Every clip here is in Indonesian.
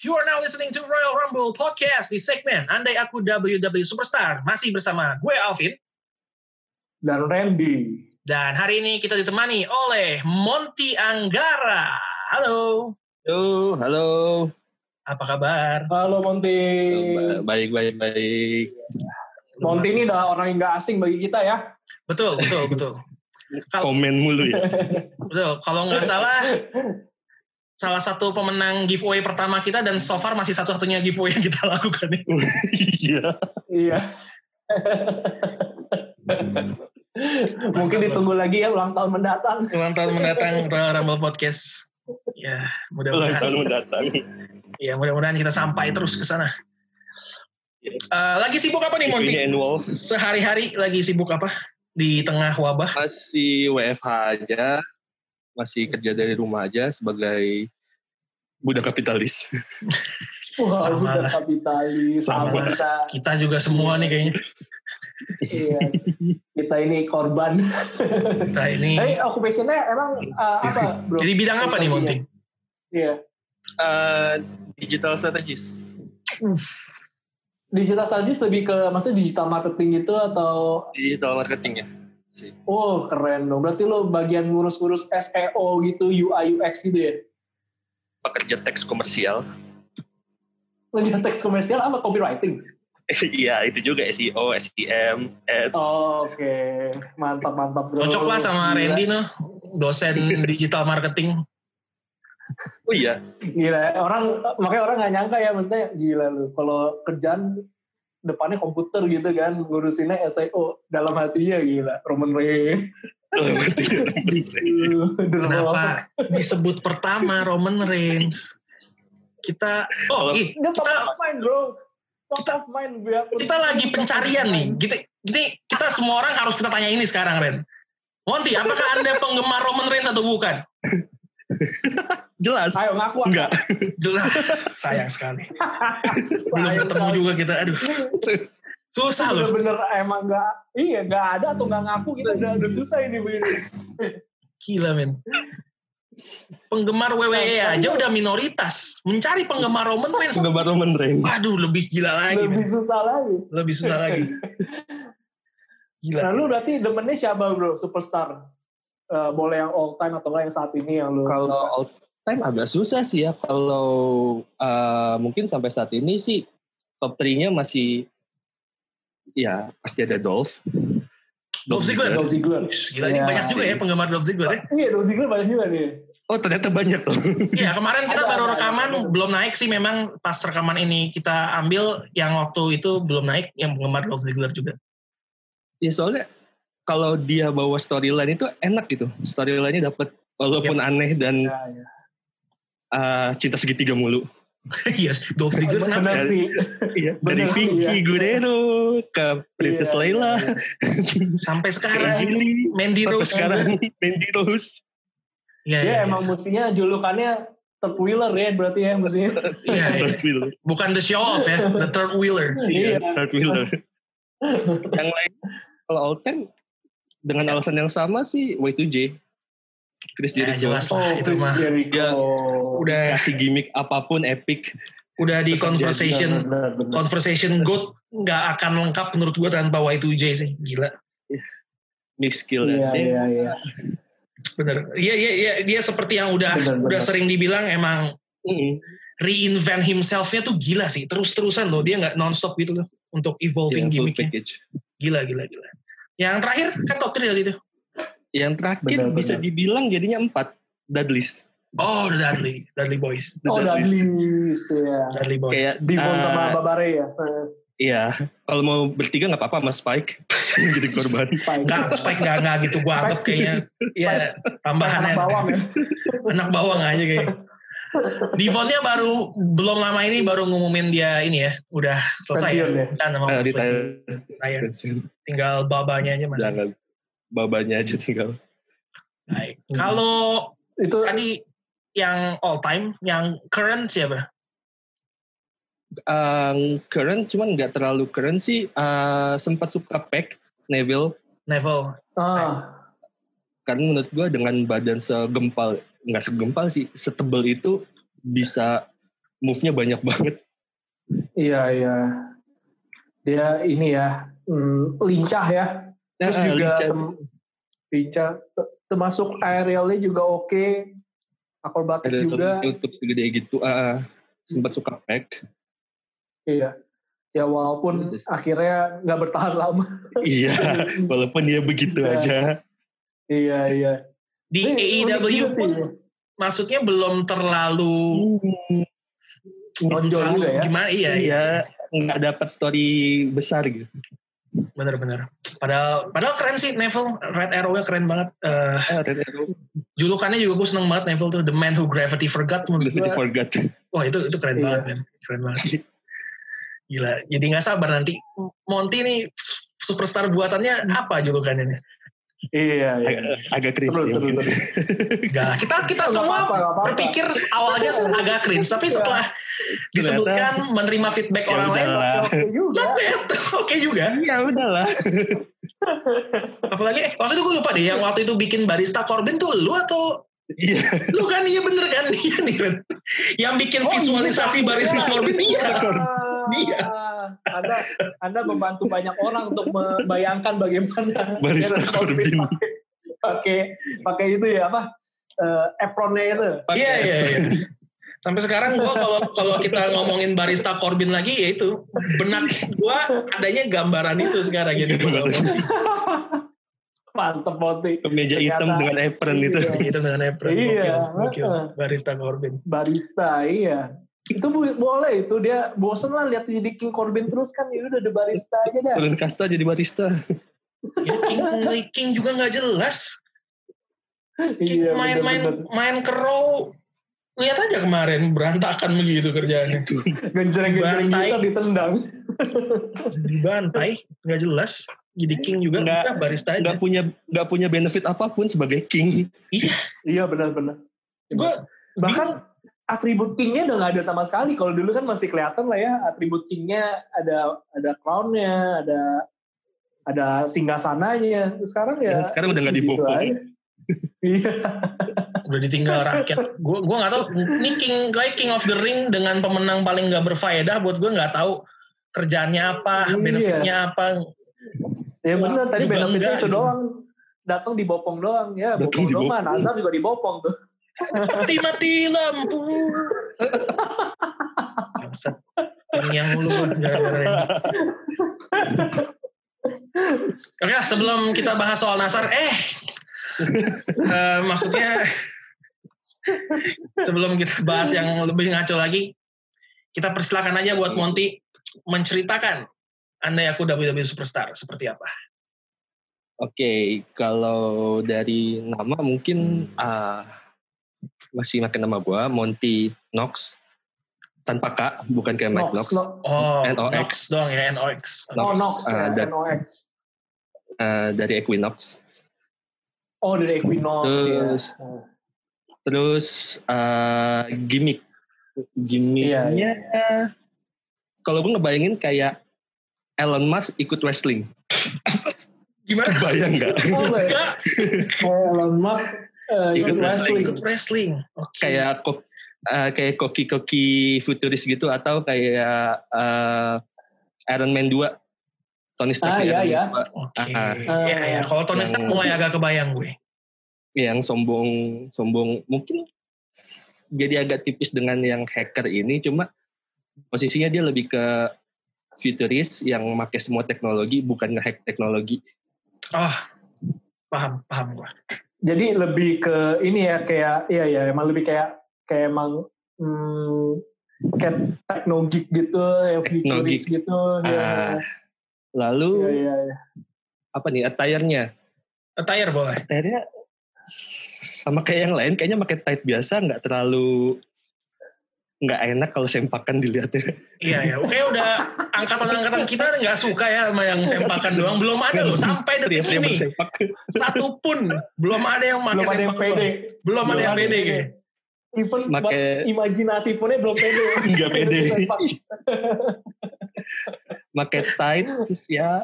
You are now listening to Royal Rumble Podcast di segmen Andai Aku WWE Superstar. Masih bersama gue Alvin. Dan Randy. Dan hari ini kita ditemani oleh Monty Anggara. Halo, Halo, halo. apa kabar? Halo Monty. Ba- Baik, baik, baik. Monty ini adalah orang yang nggak asing bagi kita ya. Betul, betul, betul. Kalau- Komen mulu ya. betul. Kalau nggak salah, salah satu pemenang giveaway pertama kita dan so far masih satu-satunya giveaway yang kita lakukan nih. Iya. Iya. Mungkin ditunggu lagi ya ulang tahun mendatang. Ulang tahun mendatang Royal Rumble Podcast. Ya, Ulang mudah-mudahan tahun mendatang. ya mudah-mudahan kita sampai terus ke sana. Eh, lagi sibuk apa nih Monty? Ini annual. Sehari-hari lagi sibuk apa? Di tengah wabah. Masih WFH aja. Masih kerja dari rumah aja sebagai budak kapitalis. Wah, Sama udah lah. kapitalis. Sama, Sama lah. kita. Kita juga semua nih kayaknya. Iya. Kita ini korban. Kita ini. Tapi occupation-nya emang eh, apa, bro? Jadi bidang apa nih Monty? Iya. Eh, digital strategist. Digital strategist lebih ke, maksudnya digital marketing gitu atau, Digital marketing ya. sih. oh keren dong. Berarti lo bagian ngurus-ngurus SEO gitu, UI, UX gitu ya? Pekerja teks komersial. Lanjut teks komersial apa copywriting? Iya, itu juga SEO, SEM, E ads. Oh, Oke, mantap mantap bro. Cocok lah sama Gila. Randy noh, dosen digital marketing. Oh iya, Gila, orang makanya orang nggak nyangka ya maksudnya gila lu. Kalau kerjaan depannya komputer gitu kan, ngurusinnya SEO dalam hatinya gila. Roman Reigns. dalam arti Kenapa? Kenapa disebut pertama Roman Reigns? Kita oh Kalau- ih, Dia top Kita- of mind bro. Top of mind biarpun. kita lagi pencarian nih. Kita ini kita semua orang harus kita tanya ini sekarang Ren. Monty, apakah anda penggemar Roman Reigns atau bukan? jelas. Ayo ngaku. Enggak. Jelas, sayang sekali. Belum Sayang ketemu sekali. juga kita. Aduh, susah loh. Bener-bener emang nggak, iya nggak ada atau nggak ngaku kita udah, udah susah ini begini. Nah, Gila men. Penggemar WWE aja udah minoritas. Mencari penggemar Roman Reigns. Penggemar Roman Reigns. Waduh, lebih gila lagi. men. Lebih susah lagi. Lebih susah lagi. Gila. Nah, lu berarti demennya siapa bro? Superstar? Eh, boleh yang all time atau enggak yang saat ini yang lu Kalau suka? all time agak susah sih ya. Kalau eh, mungkin sampai saat ini sih top 3-nya masih ya pasti ada Dolph. Dolph Ziggler. Dolph Ziggler. Ush, Gila ini Iya. banyak juga ya penggemar Dolph Ziggler ya. Iya, Dolph Ziggler banyak juga nih. Oh ternyata banyak tuh. Iya kemarin kita Ada, baru ada, rekaman ada. belum naik sih memang pas rekaman ini kita ambil yang waktu itu belum naik yang penggemar Dolph Ziggler juga. ya soalnya kalau dia bawa storyline itu enak gitu. Storyline-nya dapet walaupun Iya. aneh dan Ya, ya. eh, cinta segitiga mulu. Iya, Dolph Ziggler kenapa? Bener ya? sih. Iya. Dari Bener sih, Vicky iya. Guerrero ke Princess Iya, Leila, iya, Sampai ke sekarang Angeli, Mandy sampai Rose. sekarang Mandy Rose. Iya, Dia iya, emang mestinya julukannya third wheeler ya berarti ya mestinya. iya, iya. Darth Vader. Bukan the show off ya, the third wheeler. Iya. Iya, Darth Miller. yang lain kalau all time dengan alasan yang sama sih Y2J. Chris Iya. Ya, Jericho. jelas Oh, lah itu Chris mah. Jericho. Ya, Udah Kasih gimmick apapun epic. udah di conversation Bener, bener, bener. conversation good nggak akan lengkap menurut gue tanpa Y2J sih gila Mix skill Iya, dan iya, iya. bener iya iya iya dia seperti yang udah Bener, udah bener. sering dibilang emang Mm-mm. reinvent himselfnya tuh gila sih terus terusan loh dia nggak nonstop gitu loh untuk Iya, evolving full gimmicknya package. gila gila gila yang terakhir kan top 3 tadi tuh Yang terakhir Benar, bisa benar. dibilang jadinya empat Dudleys. oh the Dudley Dudley Boys The Oh, Dudleys. Dudley's ya. Dudley Boys Kayak Devon eh, sama Babare ya. Eh, Iya, kalau mau bertiga nggak apa-apa mas Spike jadi korban. Spike. nggak Spike nggak nggak gitu gue anggap kayaknya ya Anak tambahannya bawang ya. anak bawang aja kayak Devonnya baru belum lama ini baru ngumumin dia ini ya udah selesai ya. Pensiun ya. Dan sama Nah, Wesley. retire. Retire. tinggal babanya aja masih Jangan babanya aja tinggal. baik kalau Itu tadi yang all time yang current siapa um, current cuman nggak terlalu current sih Uh, sempat suka Peck Neville Neville ah, karena menurut gue dengan badan segempal nggak segempal sih setebel itu bisa move-nya banyak banget. Iya, iya. Dia ini ya, mm, lincah ya. Terus Nah, juga lincah. tem- lincah. Te- Termasuk aerialnya juga oke. Akrobatik ada juga. YouTube segede gitu. Ah, sempat suka pack. Iya. Ya walaupun Iya, Terus. akhirnya nggak bertahan lama. iya, walaupun dia begitu Iya. aja. iya, iya. Di E Tapi unik AEW juga sih. pun maksudnya belum terlalu Menonjol terlalu juga ya. Gimana? Iya, iya. Iya, nggak dapat story besar gitu. Benar-benar. Padahal padahal keren sih Neville. Red Arrow-nya keren banget. Eh, Ah, Red Arrow, julukannya juga gue seneng banget Neville tuh. The Man Who Gravity Forgot. Menurut Gravity gue, Forgot. wah itu, itu keren Iya. banget men. Keren banget. Gila. Jadi nggak sabar nanti. Monty nih superstar buatannya apa julukannya nih? Iya, iya. Agak, agak cringe. Seru, ya seru, mungkin. seru. Gak, kita kita Nggak semua apa-apa, Iya. nggak apa-apa. berpikir awalnya agak cringe tapi setelah disebutkan menerima feedback Ya orang lain ya udahlah. Oke juga. oke juga Ya udahlah. apalagi eh, waktu itu gue lupa deh yang waktu itu bikin barista Corbin tuh lu atau Iya. lu kan iya bener kan iya nih Ren. yang bikin Oh, visualisasi iya. barista Corbin iya Ah, Iya. Anda, anda membantu banyak orang untuk membayangkan bagaimana Barista Aaron Corbin. pakai- pakai pakai itu ya apa eh, apronnya itu. iya ya. iya iya sampai sekarang gue kalau kalau kita ngomongin barista Corbin lagi ya itu benak gue adanya gambaran itu sekarang gitu Iya, Mantep Monty. Meja Ternyata- hitam dengan apron itu. Iya. itu dengan apron Iya, gokil, gokil. heeh. barista Corbin barista iya itu bu- boleh itu dia bosen lah lihat jadi King Corbin terus kan ya udah ada barista aja dah Turun kasta jadi barista. Ya, King, King juga nggak jelas. King iya bener-bener. main-main main kero. Lihat aja kemarin berantakan begitu kerjaannya. genjreng-genjreng Bantai. gitu ditendang Dibantai, nggak jelas. Jadi King juga Nggak- udah barista aja. Nggak punya nggak punya benefit apapun sebagai king. iya benar-benar Gue bahkan atribut kingnya udah nggak ada sama sekali kalau dulu kan masih kelihatan lah ya atribut kingnya ada ada crownnya ada ada singgasananya sekarang ya, Ya, sekarang udah nggak gitu dibopong. aja. iya udah ditinggal rakyat. Gue gua nggak tahu. Ini King, kayak King of the Ring dengan pemenang paling nggak berfaedah. Buat gue nggak tahu kerjaannya apa, Iya. benefitnya apa. Ya benar tadi Juga benefitnya enggak, itu gitu. doang. Datang dibopong doang ya, Datang bopong dibopong. doang. Azam juga dibopong tuh. Mati-mati lampu. Bangsat. Yang- yang lu gara-gara ini. Oke lah, sebelum kita bahas soal Nasar, eh, eh, maksudnya sebelum kita bahas yang lebih ngaco lagi, kita persilakan aja buat Monty menceritakan andai aku WWE Superstar seperti apa. Oke, kalau dari nama mungkin ah, masih pakai nama gua Monty Knox tanpa K, bukan kayak Mike Nox, Knox. Nox. Oh, NOX. Nox doang ya, NOX. Nox. Oh, Nox, Ah, ya, dan- NOX. eh, dari Equinox. Oh, dari Equinox ya. Terus Terus eh, gimmick, gimmicknya Iya, kalau gue ngebayangin kayak Elon Musk ikut wrestling. Gimana? Bayang nggak? Oh, kayak Enggak, kayak Elon Musk eh, Ikut ikut wrestling. ikut wrestling. Oke. Iya. kayak kok eh, kayak koki-koki futuris gitu atau kayak eh, Iron Man 2 Tony Stark Ah, iya, Iron Man iya. 2. Oke. Ah. Iya, iya. Kalau Tony Stark Yang- mulai agak kebayang gue. yang sombong sombong mungkin jadi agak tipis dengan yang hacker ini cuma posisinya dia lebih ke futuris yang pakai semua teknologi bukan ngehack teknologi Oh, paham, paham gue. Jadi lebih ke ini ya kayak iya ya emang lebih kayak kayak emang hmm, kayak teknogik gitu, yang futuris gitu. Iya, iya, Ah, lalu iya, iya. apa nih attire-nya Attire boleh. attire sama kayak yang lain kayaknya pakai tight biasa nggak terlalu nggak enak kalau sempakan dilihatnya Iya, ya. Oke, udah angkatan-angkatan kita nggak suka ya sama yang sempakan doang. Belum ada loh sampai detik teriak-teriak ini. bersempak Satu pun belum ada yang pakai Belum ada yang sempak doang. pede. Belum ada yang Belum pede. kayak. Even buat pakai imajinasi punnya belum pede. nggak pede pakai tight terus ya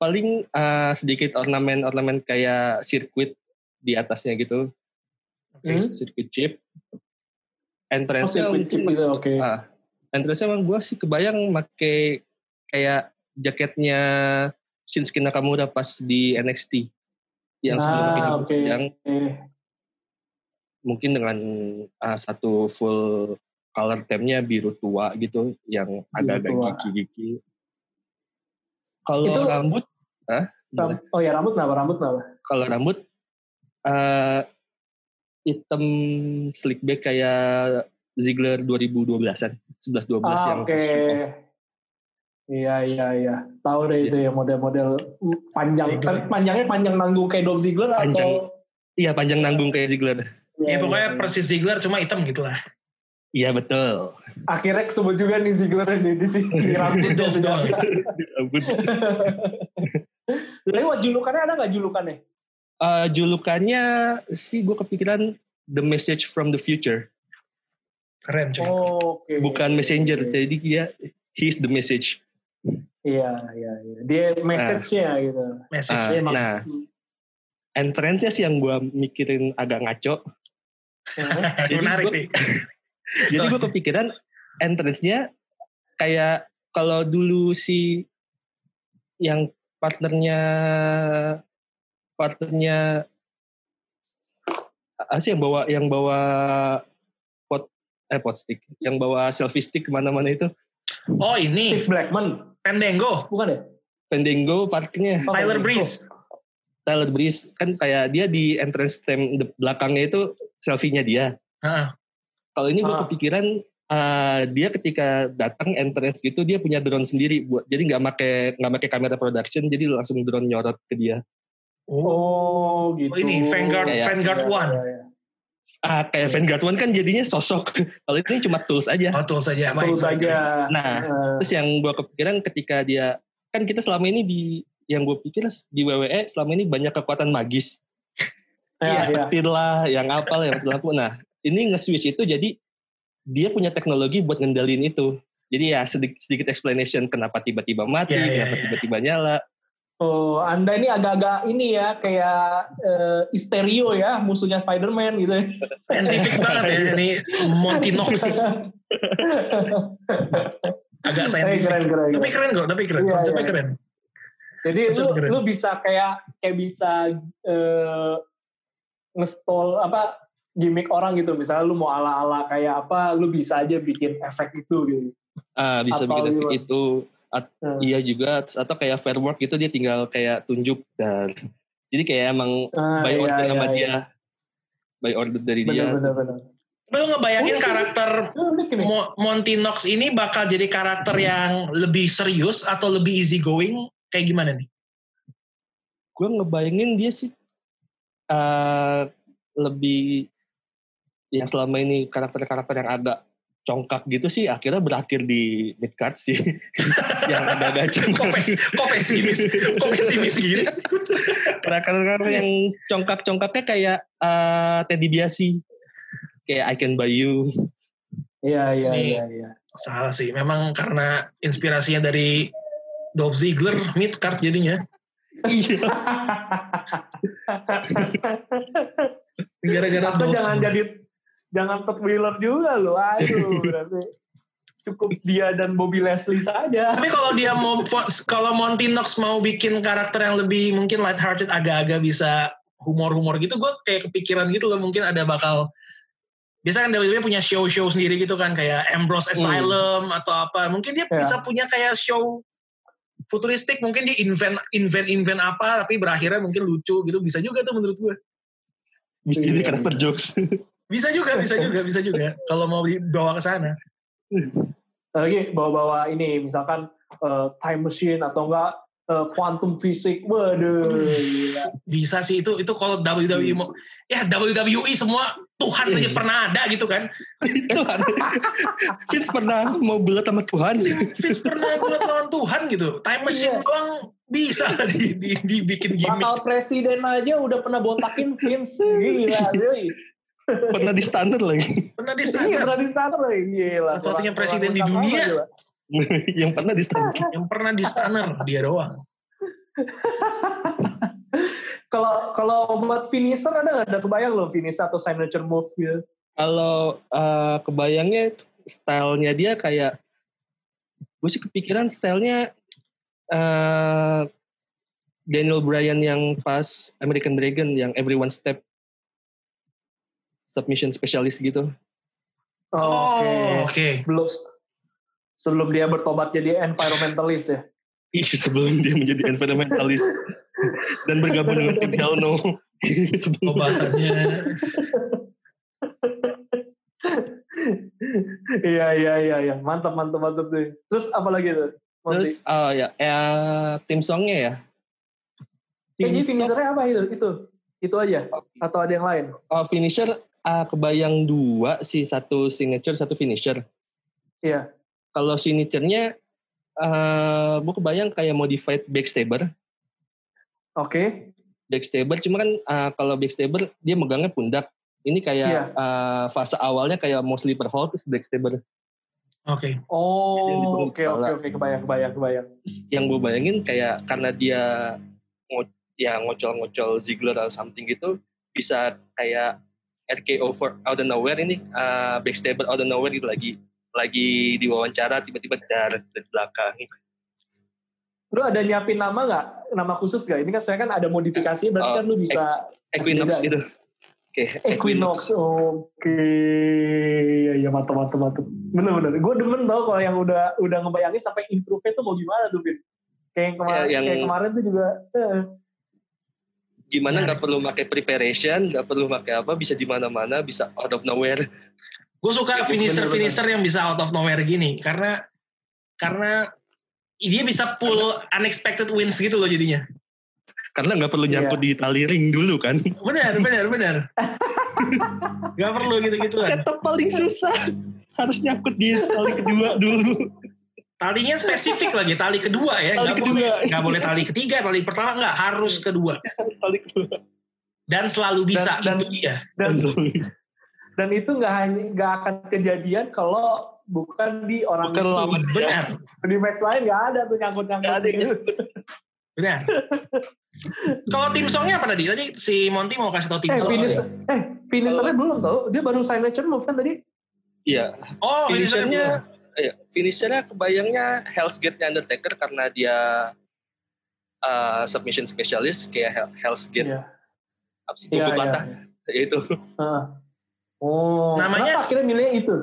paling eh, sedikit ornamen ornamen kayak sirkuit di atasnya gitu Hmm? sirkuit chip Oh, entrance sirkuit chip mungkin gitu, oke. Ah. Andreas emang gue sih kebayang make kayak jaketnya Shinsuke Nakamura pas di NXT yang sebelum Ah, makin oke. yang Eh, mungkin dengan ah, satu full color temnya biru tua gitu yang agak-agak tua. gigi-gigi. Kalau Itu- rambut, ah, ram- oh ya rambut kenapa? Rambut kenapa? kalau rambut eh hitam slick back kayak Ziggler 2012-an, 11-12 Ah, yang oke. Iya, iya, iya. Tahu deh itu ya model-model panjang. Ziggler. Tapi Panjangnya panjang nanggung kayak Dolph Ziggler Panjang. atau... Iya panjang nanggung kayak Ziggler. Ya, pokoknya iya. persis Ziggler cuma hitam gitu lah. Iya betul. Akhirnya kesebut juga nih Ziggler di, Iya, di, di, Iya. di rambut. Dolph doang. Ya Rambut. Tapi Terus, wah, julukannya ada nggak julukannya? eh, julukannya sih gue kepikiran The Message from the Future. Keren cuy. Oh, oke. Bukan messenger, jadi dia he's the message. Iya, iya, iya. Dia message-nya Nah. gitu. Message-nya Ah, di- nah. Entrance-nya sih yang gue mikirin agak ngaco. Ya. Jadi menarik gua- nih. Jadi gue kepikiran entrance-nya kayak kalau dulu si yang partnernya partnernya apa sih yang bawa yang bawa pot eh pot stick yang bawa selfie stick kemana-mana itu Oh ini Steve Blackman, Pendengo, bukan ya? Pendengo partnernya Oh, Tyler oh. Breeze. Tyler Breeze kan kayak dia di entrance stem de- belakangnya itu selfie-nya dia Heeh. kalau ini gue Ah. kepikiran eh, dia ketika datang entrance gitu dia punya drone sendiri buat jadi nggak make nggak make kamera production jadi langsung drone nyorot ke dia Oh. Oh, gitu. ini Vanguard- Iya, iya. Vanguard Iya, One. iya, iya. ah kayak Vanguard One kan jadinya sosok kalau ini cuma tools aja Oh, terus saja. Baik, Terus baik. aja. nah Eh, terus yang gue kepikiran ketika dia kan kita selama ini di yang gue pikir di WWE selama ini banyak kekuatan magis Iya, iya. petir lah, yang apal, yang petir lampu. Nah, ini nge-switch itu jadi dia punya teknologi buat ngendalin itu. Jadi ya sedikit, sedikit explanation kenapa tiba-tiba mati, Iya, iya, kenapa iya. tiba-tiba nyala. Oh, Anda ini agak-agak ini ya, kayak eh, Isterio ya, musuhnya Spider-Man gitu Eh, ya. Scientific banget ya Iya. ini Monty Knox. Agak Eh, keren, scientific. keren, Tapi keren. keren kok, tapi keren. Iya, Konsepnya iya. keren. Jadi lu, keren. lu bisa kayak kayak bisa eh, ngestol apa gimmick orang gitu. Misalnya lu mau ala-ala kayak apa, lu bisa aja bikin efek itu gitu. Ah, bisa Atau bikin efek gimana? itu. At- Hmm. Iya juga, Terus atau kayak firework gitu dia tinggal kayak tunjuk dan jadi kayak emang Ah, by iya, order iya, sama iya. dia, by order dari Bener, dia. bener, bener. Tapi lu ngebayangin Oh, karakter Eh, udah gini. Mo- Monty Knox ini bakal jadi karakter Iya. yang lebih serius atau lebih easy going kayak gimana nih? Gue ngebayangin dia sih eh, lebih yang selama ini karakter-karakter yang agak congkak gitu sih akhirnya berakhir di mid card sih yang agak-agak Kok, congkak pes, kok pesimis? Kok pesimis gini? karakter-karakter yang congkak-congkaknya kayak eh, Teddy Biasi kayak I Can Buy You Iya, iya, Nih. iya, iya. Salah sih, memang karena inspirasinya dari Dolph Ziggler, mid card jadinya. iya Gara-gara Masa Dolph jangan Ziggler. jadi jangan Todd Wheeler juga loh. Aduh, berarti cukup dia dan Bobby Leslie saja. Tapi kalau dia mau kalau Monty Knox mau bikin karakter yang lebih mungkin light hearted agak-agak bisa humor-humor gitu, gue kayak kepikiran gitu loh mungkin ada bakal biasa kan WWE punya show-show sendiri gitu kan kayak Ambrose Asylum atau apa. Mungkin dia Ya. bisa punya kayak show futuristik, mungkin dia invent invent invent apa tapi berakhirnya mungkin lucu gitu. Bisa juga tuh menurut gue. bisa Iya, jadi iya. karakter jokes Bisa juga, bisa juga, bisa juga kalau mau dibawa ke sana. Lagi bawa-bawa ini misalkan eh, time machine atau enggak eh, quantum fisik. Waduh, gila. Bisa sih itu itu kalau WWE mau ya WWE semua Tuhan aja Iya. pernah ada gitu kan. Tuhan Vince pernah mau bulat sama Tuhan Vince pernah buat lawan Tuhan gitu. Time machine Iya. doang bisa di, di, dibikin gimmick. Bakal presiden aja udah pernah botakin Vince. Gila, cuy. pernah di standar lagi Pernah di Ini standar. pernah di sana lagi. Gila. Satu-satunya Orang- presiden di orang lengkap dunia. apa, gila. yang pernah di standar Yang pernah di standar dia doang. Kalau kalau buat finisher ada nggak? ada kebayang loh finisher atau signature move gitu. Kalau eh, kebayangnya stylenya dia kayak gue sih kepikiran stylenya eh Daniel Bryan yang pas American Dragon yang everyone step submission specialist gitu. Oh, Oke. oke. Belum sebelum dia bertobat jadi environmentalist ya. Ih, sebelum dia menjadi environmentalist dan bergabung dengan tim Hell No. Sebelum- Obatannya. Iya iya iya iya. Mantap mantap mantap tuh. Terus apa lagi tuh? Monty? Terus oh ya, eh, tim songnya ya. Eh, Tim jadi song, finishernya apa itu? Itu itu aja atau ada yang lain? oh, finisher ah, kebayang dua sih, satu signature, satu finisher. Iya. Kalau signaturenya, eh gue kebayang kayak modified backstabber. Oke. backstabber cuma kan uh, kalau backstabber dia megangnya pundak ini kayak Iya. uh, fase awalnya kayak mau sleeper hold terus backstabber Oke. Yang Oh, dipegang oke oke kepala. oke kebayang kebayang kebayang. yang gue bayangin kayak karena dia ngo- ya ngocol-ngocol Ziggler atau something gitu bisa kayak RKO for out of nowhere ini uh, backstabber out of nowhere gitu lagi lagi diwawancara tiba-tiba dar dari belakang Eh, Lu ada nyiapin nama nggak? Nama khusus nggak? Ini kan saya kan ada modifikasi berarti Oh, kan lu bisa Beda. Equinox gitu oke Equinox. Oke. Iya iya mantap mantap mantap. Bener bener. Gue demen tau kalau yang udah udah ngebayangin sampai improve-nya tuh mau gimana tuh, Bin. Kayak yang kemarin, Iya, yang- kayak kemarin tuh juga. eh. gimana nggak perlu pakai preparation nggak perlu pakai apa bisa di mana-mana bisa out of nowhere Gue suka Bener-bener. finisher-finisher yang bisa out of nowhere gini. Karena karena dia bisa pull unexpected wins gitu loh jadinya. karena nggak perlu Iya. nyangkut di tali ring dulu kan Benar, benar, benar. Gak perlu gitu-gituan. setup paling susah harus nyangkut di tali kedua dulu Talinya spesifik lagi, tali kedua ya. Tali nggak kedua. Boleh, nggak boleh tali ketiga, tali pertama nggak harus kedua. tali kedua Dan selalu bisa Dan- itu dan- dia. Dan dan itu nggak hanya nggak akan kejadian kalau bukan di orang bukan itu. lawan dia Benar, di match lain nggak ada tuh Eh, nyangkut nyangkut Nggak ada yang benar. Kalau tim songnya apa tadi? Tadi si Monty mau kasih tau tim eh song. finish Iya. eh finishernya belum tau dia baru signature move kan tadi iya Oh, finishernya iya, finishernya kebayangnya Hell's Gate Undertaker karena dia uh, submission specialist kayak Hell- Hell's Gate Iya, apa sih iya, buku iya. patah ya itu Heeh. oh Namanya- kenapa akhirnya milihnya itu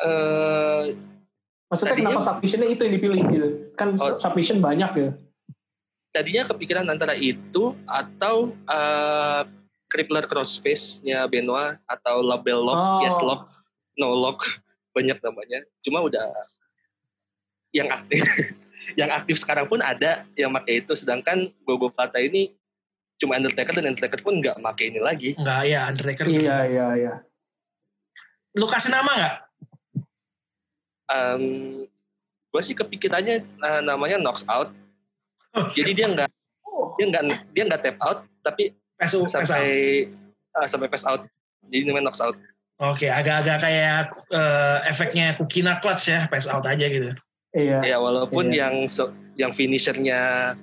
Eh, maksudnya Tadinya- kenapa submissionnya itu yang dipilih gitu kan Oh. submission banyak ya tadinya kepikiran antara itu atau uh, crippler crossface-nya Benoit atau label lock, Oh. yes lock, no lock, banyak namanya. Cuma udah yang aktif yang aktif sekarang pun ada yang pakai itu sedangkan Gogo Plata ini cuma Undertaker dan Undertaker pun nggak pakai ini lagi. Enggak, ya Undertaker. iya iya iya Lu kasih nama nggak? Um, gue sih kepikirannya uh, namanya knocks out. Jadi dia nggak Oh, dia nggak dia nggak tap out tapi PSU, PSU. sampai uh, sampai pass out. Jadi namanya knocks out. Oke, agak-agak kayak eh, efeknya Kukina Clutch ya, pass out aja gitu. iya Ya walaupun Iya. yang su- yang finishernya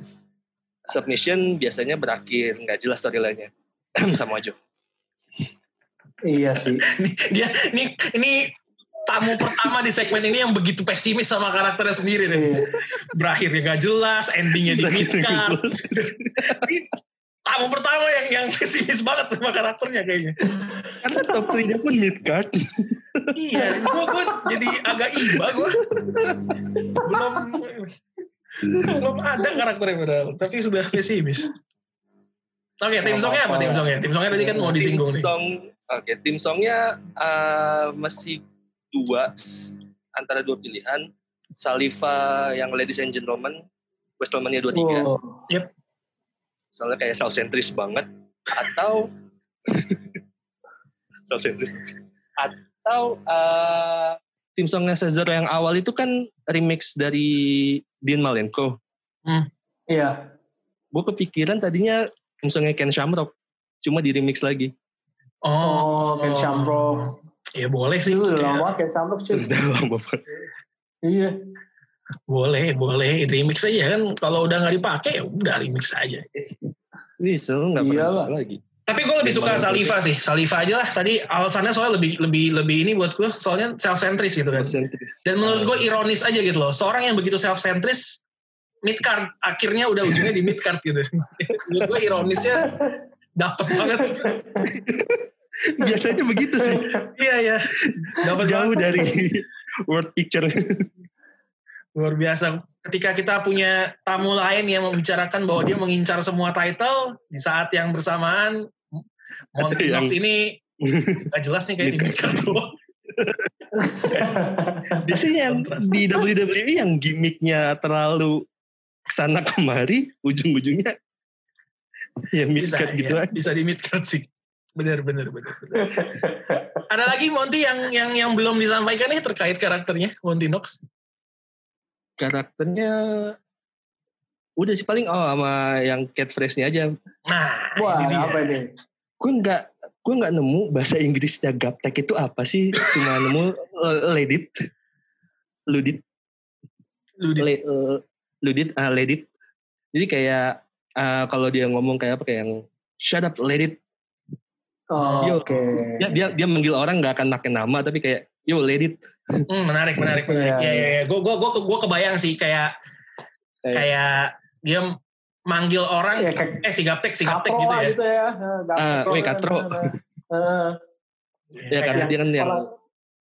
submission biasanya berakhir nggak jelas storylinenya sama aja. iya sih Dia, ini, ini tamu pertama di segmen ini yang begitu pesimis sama karakternya sendiri nih. iya. Berakhirnya gak jelas, endingnya di mid Berakhirnya nggak card. Ini tamu pertama yang yang pesimis banget sama karakternya kayaknya. Karena top 3-nya pun mid card. iya, gua gua jadi agak iba gua. Belum belum ada karakternya padahal, tapi sudah pesimis. Oke, tim Nggak songnya apa apa-apa. tim songnya? Tim songnya tadi kan mau disinggung tim nih. song, oke tim songnya eh, masih dua s- antara dua pilihan. Saliva yang Ladies and Gentlemen, Wrestlemania 23. Oh. Soalnya kayak self-centris banget. Atau self-centris. Atau eh, tim songnya Cesaro yang awal itu kan remix dari Dean Malenko. iya Gue kepikiran tadinya tim songnya Ken Shamrock. Cuma di remix lagi. Oh, oh Ken Shamrock ya boleh sih. itu udah Kayak- lama banget Ken Shamrock cuy Iya. Udah lama banget. iya Boleh, boleh. Remix aja kan. Kalau udah nggak dipakai, ya udah remix aja. Ini selalu gak pernah Iyalah. lagi. Tapi gue lebih suka Saliva sih, Saliva aja lah. Tadi alasannya soalnya lebih lebih lebih ini buat gue, soalnya self centris gitu kan. Dan menurut gue ironis aja gitu loh. Seorang yang begitu self centris mid card akhirnya udah ujungnya di mid card gitu. menurut gue ironisnya dapat banget. biasanya begitu sih Iya iya. Dapat jauh banget. dari world picture Luar biasa. Ketika kita punya tamu lain yang membicarakan bahwa dia mengincar semua title di saat yang bersamaan Monty Yang- Knox ini gak jelas nih kayak di mid card doang. biasanya yang di WWE yang gimmicknya terlalu kesana kemari ujung-ujungnya ya bisa miskat gitu ya, aja bisa di mid card sih benar benar benar benar. ada lagi Monty yang yang yang belum disampaikan nih terkait karakternya Monty Knox karakternya udah sih paling oh sama yang catchphrase-nya aja nah Wah, ini dia apa Iya. ini? gue nggak gue nggak nemu bahasa Inggrisnya gaptek itu apa sih cuma nemu eh, ledit ludit lu di- le- eh, ludit ah ledit jadi kayak ah, kalau dia ngomong kayak apa kayak yang shut up ledit Oh, Yo. Oke. dia dia dia manggil orang nggak akan pakai nama tapi kayak yo ledit Hmm, menarik menarik menarik Iya, ya ya ya gue gue gue gue kebayang sih kayak Kayak- kayak dia manggil orang Ya kayak eh si gaptek si gaptek katro gitu lah ya gitu ya. Eh, gaptek Ah, weh, lah, katro. eh, eh, Iya, ya karena gitu. dia kan yang kalau-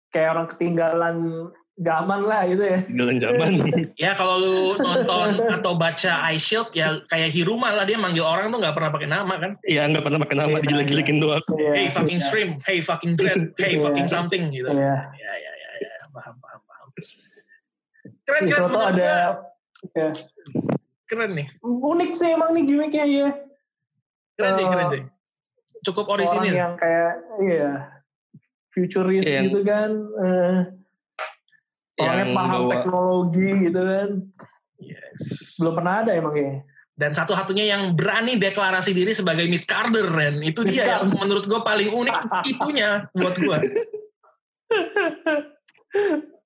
Kayak orang ketinggalan zaman lah gitu ya. jalan zaman ya kalau lu nonton atau baca Ice Shield ya kayak Hiruma lah dia manggil orang tuh nggak pernah pakai nama kan ya nggak pernah pakai nama Iya, dijelek-jelekin doang Iya. hey fucking Iya. stream hey fucking dread hey Iya. fucking something gitu Iya. ya ya ya ya paham paham paham Kan keren keren Iya, Soto menurut ada Iya. gua keren nih unik sih emang nih gimmicknya ya. keren sih Eh, keren sih cukup Orang orisinil yang kayak iya futuris Iya, Yang- gitu kan. eh, orangnya yang paham bawa- teknologi gitu kan. yes. Belum pernah ada emang ya. dan satu-satunya yang berani deklarasi diri sebagai mid carder Ren itu dia yang Mid-carder. menurut gue paling unik itunya buat gue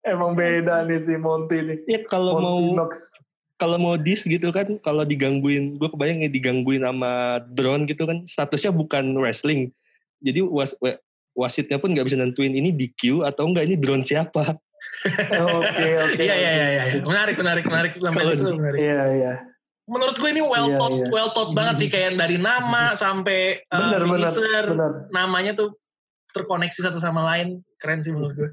Emang beda nih si Monty nih. ya kalau mau Monty Knox. kalau mau dis gitu kan kalau digangguin gue kebayang ya digangguin sama drone gitu kan statusnya bukan wrestling jadi was, wa- wasitnya pun nggak bisa nentuin ini DQ atau enggak ini drone siapa Oke oke. iya iya iya iya menarik menarik menarik sampai Kalau- situ menarik Iya iya. menurut gue ini well Iya, thought iya. Mm-hmm. well thought banget sih kayak dari nama sampai uh, Benar benar finisher benar namanya tuh terkoneksi satu sama lain keren sih menurut gue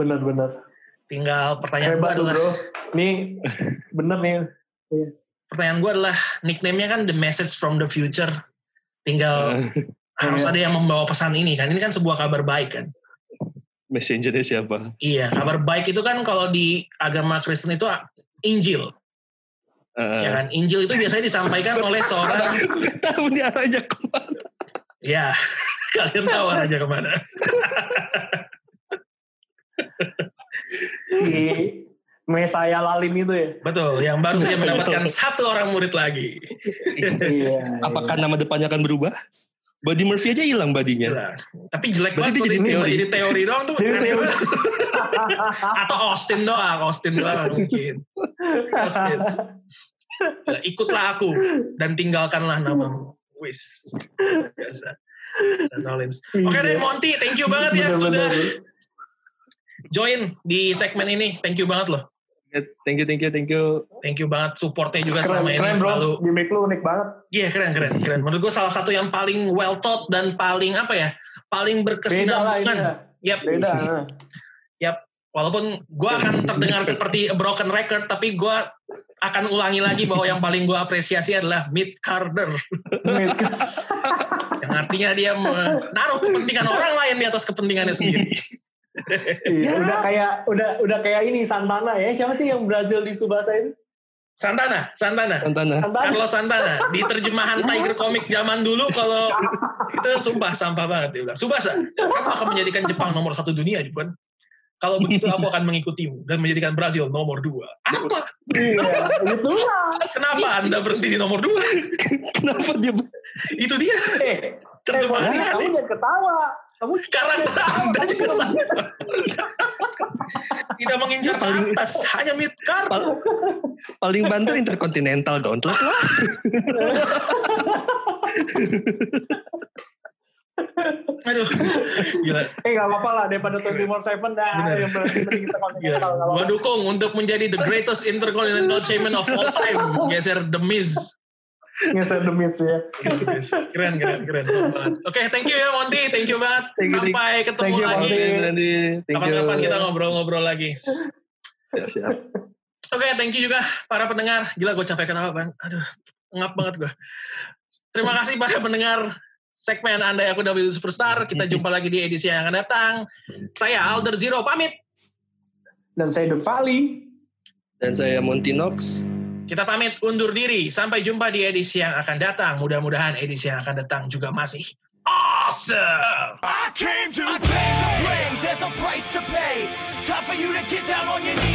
benar benar. tinggal pertanyaan gue Hebat tuh adalah bro. Nih bener nih. pertanyaan gue adalah nickname-nya kan The Message from the Future. Oh. Tinggal harus Iya. ada yang membawa pesan ini kan. Ini kan sebuah kabar baik kan. messengernya siapa Iya, kabar baik itu kan kalau di agama Kristen itu ah, Injil, Eh, ya kan? Injil itu biasanya disampaikan oleh seorang tahu nih arahnya kemana ya kalian tahu aja kemana. Si Mesaya Lalim itu ya. Betul, yang baru saja mendapatkan satu orang murid lagi. Iya. apakah nama depannya akan berubah Buddy Murphy aja hilang badinya Gila. Gitu Tapi jelek Iya. Berarti banget dia jadi tuh, teori. jadi teori doang tuh. Jadi aneh teori. banget. Atau Austin doang, Austin doang mungkin. Austin. Eh, Ikutlah aku dan tinggalkanlah namamu. Wis. Biasa. Seth Rollins. Oke deh Iya. Monty, thank you banget ya sudah join di segmen ini. Thank you banget loh. thank you thank you thank you Thank you banget supportnya juga Keren, selama ini keren bro, selalu. gimmick lu unik banget. Iya keren keren keren. Menurut gue salah satu yang paling well taught dan paling apa ya? Paling Beda lah ini. berkesinambungan. ya. Yap. Beda. nah. Walaupun gue akan terdengar seperti a broken record, tapi gue akan ulangi lagi bahwa yang paling gue apresiasi adalah mid carder, Gimmick. yang artinya dia menaruh kepentingan orang lain di atas kepentingannya sendiri. Iya, udah kayak udah udah kayak ini Santana ya. Siapa sih yang Brazil di Subasa itu? Santana, Santana, Santana Santana. Carlos Santana nah, di terjemahan Tiger Comic zaman dulu kalau itu sumpah sampah banget dia bilang. Subasa, kamu akan menjadikan Jepang nomor satu dunia, Jepang. Kalau begitu aku akan mengikutimu dan menjadikan Brazil nomor dua. Apa? Iya, gitu lah. Kenapa anda berhenti di nomor dua? kenapa dia Itu dia Eh, Eh, terjemahan Bang, kamu jangan ketawa. Kamu karakter Anda Kamu juga cuma- sama. Tidak mengincar ke Paling- atas, hanya mid card. Pal- paling banter interkontinental gauntlet lah Aduh, gila. Eh nggak apa-apa lah daripada 24 Seven dah. Bener. Yang berarti kita Gila. konten Gua dukung untuk menjadi the greatest intercontinental champion of all time. Geser The Miz. ngeser demis ya. Gitu, keren keren keren banget. Oke, thank you ya Monty, thank you banget. Thank you, Sampai ketemu Thank you, lagi. Monty. Kapan-kapan kita ngobrol-ngobrol lagi. Siap. Oke, thank you juga para pendengar. Gila gue capek kenapa, Bang? Aduh, ngap banget gue. Terima kasih para pendengar segmen Andai Aku W Superstar. Kita jumpa lagi di edisi yang akan datang. Saya Alder Zero pamit. Dan saya The Valley. Dan saya Monty Knox. Kita pamit undur diri. Sampai jumpa di edisi yang akan datang. Mudah-mudahan edisi yang akan datang juga masih awesome. I came to I play. Came to play. There's a price to pay. Time for you to get down on your knees.